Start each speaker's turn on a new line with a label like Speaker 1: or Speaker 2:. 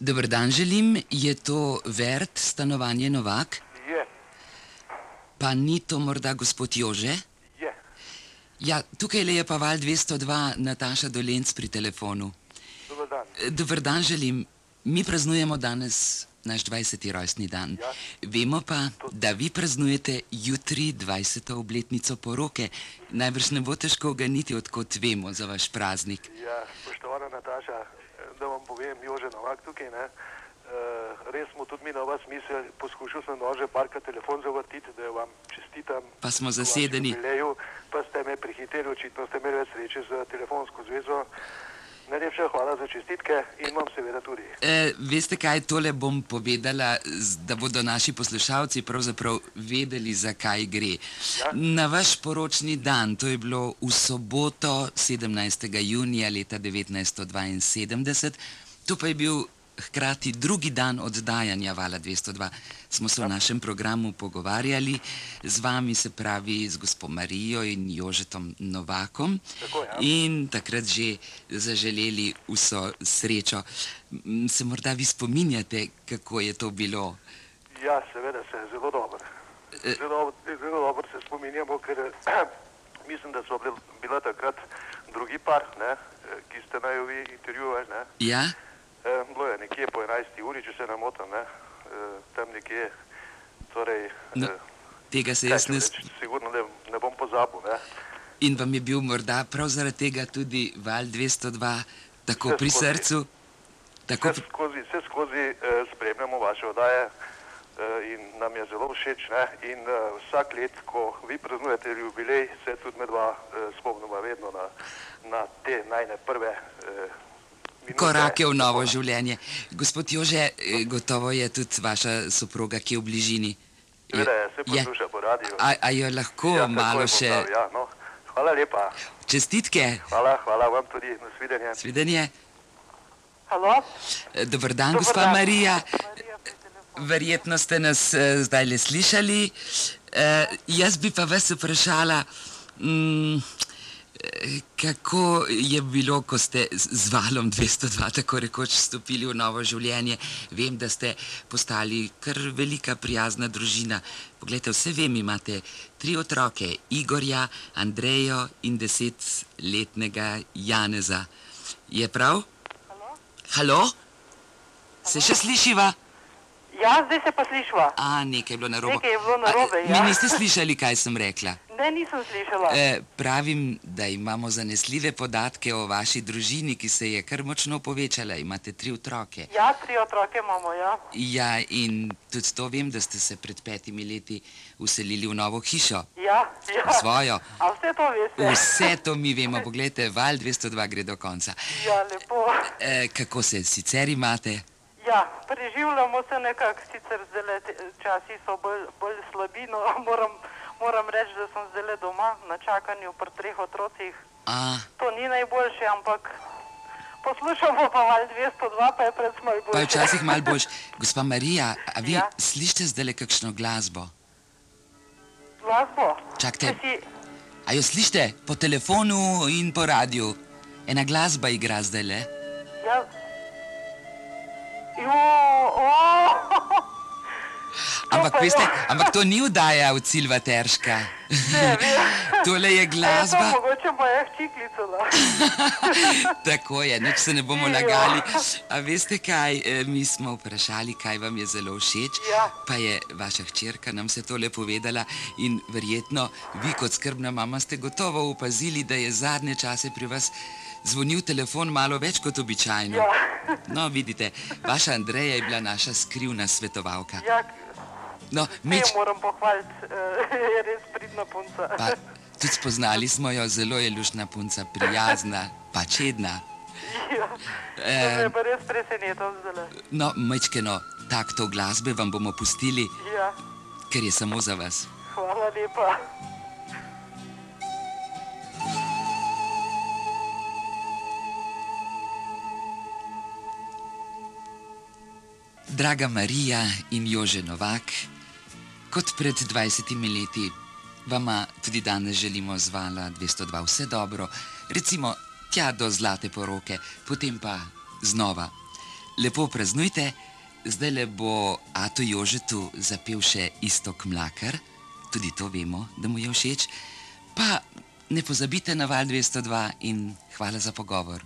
Speaker 1: Dobar dan želim, je to Vert, stanovanje Novak?
Speaker 2: Je,
Speaker 1: Pa ni to morda gospod Jože?
Speaker 2: je.
Speaker 1: Ja, tukaj le je pa val 202 Nataša Dolenc pri telefonu.
Speaker 2: Dobar dan.
Speaker 1: Dober dan želim. Mi praznujemo danes naš 20. rojstni dan.
Speaker 2: Ja.
Speaker 1: Vemo pa, da vi praznujete jutri 20. obletnico poroke. Najbrž ne bo težko ganiti, odkot vemo za vaš praznik.
Speaker 2: Ja, spoštovana Nataša, da vam povem, Jože Novak tukaj, ne. Eh, Res smo tudi mi na vas mislili, poskušal sem nože parka telefon zavrtiti, da vam čestitam.
Speaker 1: Pa smo
Speaker 2: v vašem
Speaker 1: zasedeni.
Speaker 2: jubileju, pa ste me prihiteli, očitno ste imeli več sreče z telefonsko zvezo. Najlepša hvala za čestitke in vam seveda tudi.
Speaker 1: E, veste, kaj tole bom povedala, z- da bodo naši poslušalci pravzaprav vedeli, zakaj gre.
Speaker 2: Ja.
Speaker 1: Na vaš poročni dan, to je bilo v soboto 17. junija leta 1972, to pa je bil hkrati drugi dan oddajanja Vala 202, smo se v
Speaker 2: Ja.
Speaker 1: našem programu pogovarjali z vami, se pravi z gospo Marijo in Jožetom Novakom.
Speaker 2: Tako, ja.
Speaker 1: In takrat že zaželeli vso srečo. M, Se morda vi spominjate, kako je to bilo?
Speaker 2: Ja, seveda se zelo dobro.
Speaker 1: E-
Speaker 2: Zelo, zelo dobro se spominjamo, ker mislim, da so bila, bila takrat drugi par, ne, eh, ki ste naj jo vi intervjuvali. Ne.
Speaker 1: Ja,
Speaker 2: Eh, Bilo je nekje po 11. uri, če se ne motim, ne, eh, tam nekje. Torej,
Speaker 1: No,
Speaker 2: eh,
Speaker 1: tega se
Speaker 2: kaj
Speaker 1: jaz
Speaker 2: če
Speaker 1: ne
Speaker 2: reči,
Speaker 1: spomnim.
Speaker 2: Sigurno ne, ne bom pozabil. Ne.
Speaker 1: In vam je bil morda prav zaradi tega tudi val 202 tako
Speaker 2: Vse
Speaker 1: pri
Speaker 2: skozi.
Speaker 1: srcu. Tako,
Speaker 2: Vse skozi, vse skozi eh, spremljamo vaše oddaje eh, in nam je zelo všeč. Ne? In eh, vsak let, ko vi praznujete jubilej, se tudi med dva eh, spomnimo vedno na, na te najne prve eh, minute.
Speaker 1: korake v novo življenje. Gospod Jože, eh, gotovo je tudi vaša soproga, ki je v bližini.
Speaker 2: Seveda je, se
Speaker 1: Je.
Speaker 2: posluša po radiju.
Speaker 1: A, a jo lahko
Speaker 2: Ja,
Speaker 1: ja,
Speaker 2: takoj
Speaker 1: malo
Speaker 2: bom
Speaker 1: še
Speaker 2: dal, Ja, no. Hvala lepa.
Speaker 1: čestitke?
Speaker 2: Hvala, hvala vam tudi. Nasvidenje.
Speaker 1: Svidenje. Eh,
Speaker 3: Halo?
Speaker 1: Dober dan,
Speaker 3: Dober
Speaker 1: gospa
Speaker 3: dan.
Speaker 1: Marija.
Speaker 3: Marija pri telefonu.
Speaker 1: Verjetno ste nas eh, zdaj le slišali. Eh, jaz bi pa vas vprašala, mm, eh, kako je bilo, ko ste z z valom 202 tako rekoč stopili v novo življenje. Vem, da ste postali kar velika prijazna družina. Poglejte, vse vem, imate tri otroke, Igorja, Andrejo in desetletnega Janeza. Je prav?
Speaker 3: Halo?
Speaker 1: Halo? Se še slišiva?
Speaker 3: Ja, zdaj se pa slišva.
Speaker 1: A, nekaj je bilo narobe.
Speaker 3: Nekaj je bilo narobe,
Speaker 1: A,
Speaker 3: ja.
Speaker 1: Mi niste slišali, kaj sem rekla.
Speaker 3: Ne, nisem slišala.
Speaker 1: E, pravim, da imamo zanesljive podatke o vaši družini, ki se je kar močno povečala. Imate tri otroke.
Speaker 3: Ja, tri otroke imamo, ja.
Speaker 1: Ja, in tudi to vem, da ste se pred petimi leti uselili v novo hišo.
Speaker 3: Ja, ja.
Speaker 1: Svojo.
Speaker 3: A vse to veste?
Speaker 1: Vse to mi vemo, poglejte, val 202 gre do konca.
Speaker 3: Ja, lepo.
Speaker 1: E, kako se sicer imate?
Speaker 3: Ja, preživljamo se nekako, sicer zdaj časi so bolj, bolj slabi, no moram, moram reči, da sem zdaj doma na čakanju pri treh otrocih.
Speaker 1: A,
Speaker 3: To ni najboljše, ampak poslušamo pa val 202, pa je predvsem malo
Speaker 1: pa
Speaker 3: boljše.
Speaker 1: je včasih malo boljš. Gospa Marija, a vi
Speaker 3: Ja.
Speaker 1: slišite zdaj le kakšno glasbo?
Speaker 3: Glasbo.
Speaker 1: Čakajte.
Speaker 3: Če Si,
Speaker 1: A jo slišite po telefonu in po radiju? Ena glasba igra zdaj le.
Speaker 3: ja. Jo, o,
Speaker 1: Ampak,
Speaker 3: pa jo.
Speaker 1: veste, ampak to ni vdaja od Silva Terška.
Speaker 3: ne vem.
Speaker 1: Tole je
Speaker 3: E,
Speaker 1: glasba,
Speaker 3: to mogoče moja hčiklica. no.
Speaker 1: tako je, nič se ne bomo
Speaker 3: Ja.
Speaker 1: lagali. A veste kaj, E, mi smo vprašali, kaj vam je zelo všeč,
Speaker 3: Ja.
Speaker 1: pa je vaša hčerka nam se tole povedala in verjetno vi kot skrbna mama ste gotovo opazili, da je zadnje čase pri vas zvonil telefon malo več kot običajno.
Speaker 3: Ja.
Speaker 1: No, vidite, vaša Andreja je bila naša skrivna svetovalka.
Speaker 3: Ja,
Speaker 1: No,
Speaker 3: Mič...
Speaker 1: Mič,
Speaker 3: moram pohvaliti, eh, je res pridna punca.
Speaker 1: pa tudi spoznali smo jo, zelo je lušna punca, prijazna, pa čedna.
Speaker 3: Ja.
Speaker 1: Em.
Speaker 3: To me je
Speaker 1: eh,
Speaker 3: pa res presenetilo zdaj.
Speaker 1: No, mečkeno takto glasbe vam bomo pustili,
Speaker 3: Ja,
Speaker 1: ker je samo za vas.
Speaker 3: hvala lepa.
Speaker 1: Draga Marija in Jože Novak, kot pred 20 leti, vama tudi danes želimo zvala 202 vse dobro, recimo tja do zlate poroke, potem pa znova. lepo praznujte. Zdaj le bo Ato Jožetu zapel še istok mlakar, tudi to vemo, da mu je všeč. Pa ne pozabite na val 202 in hvala za pogovor.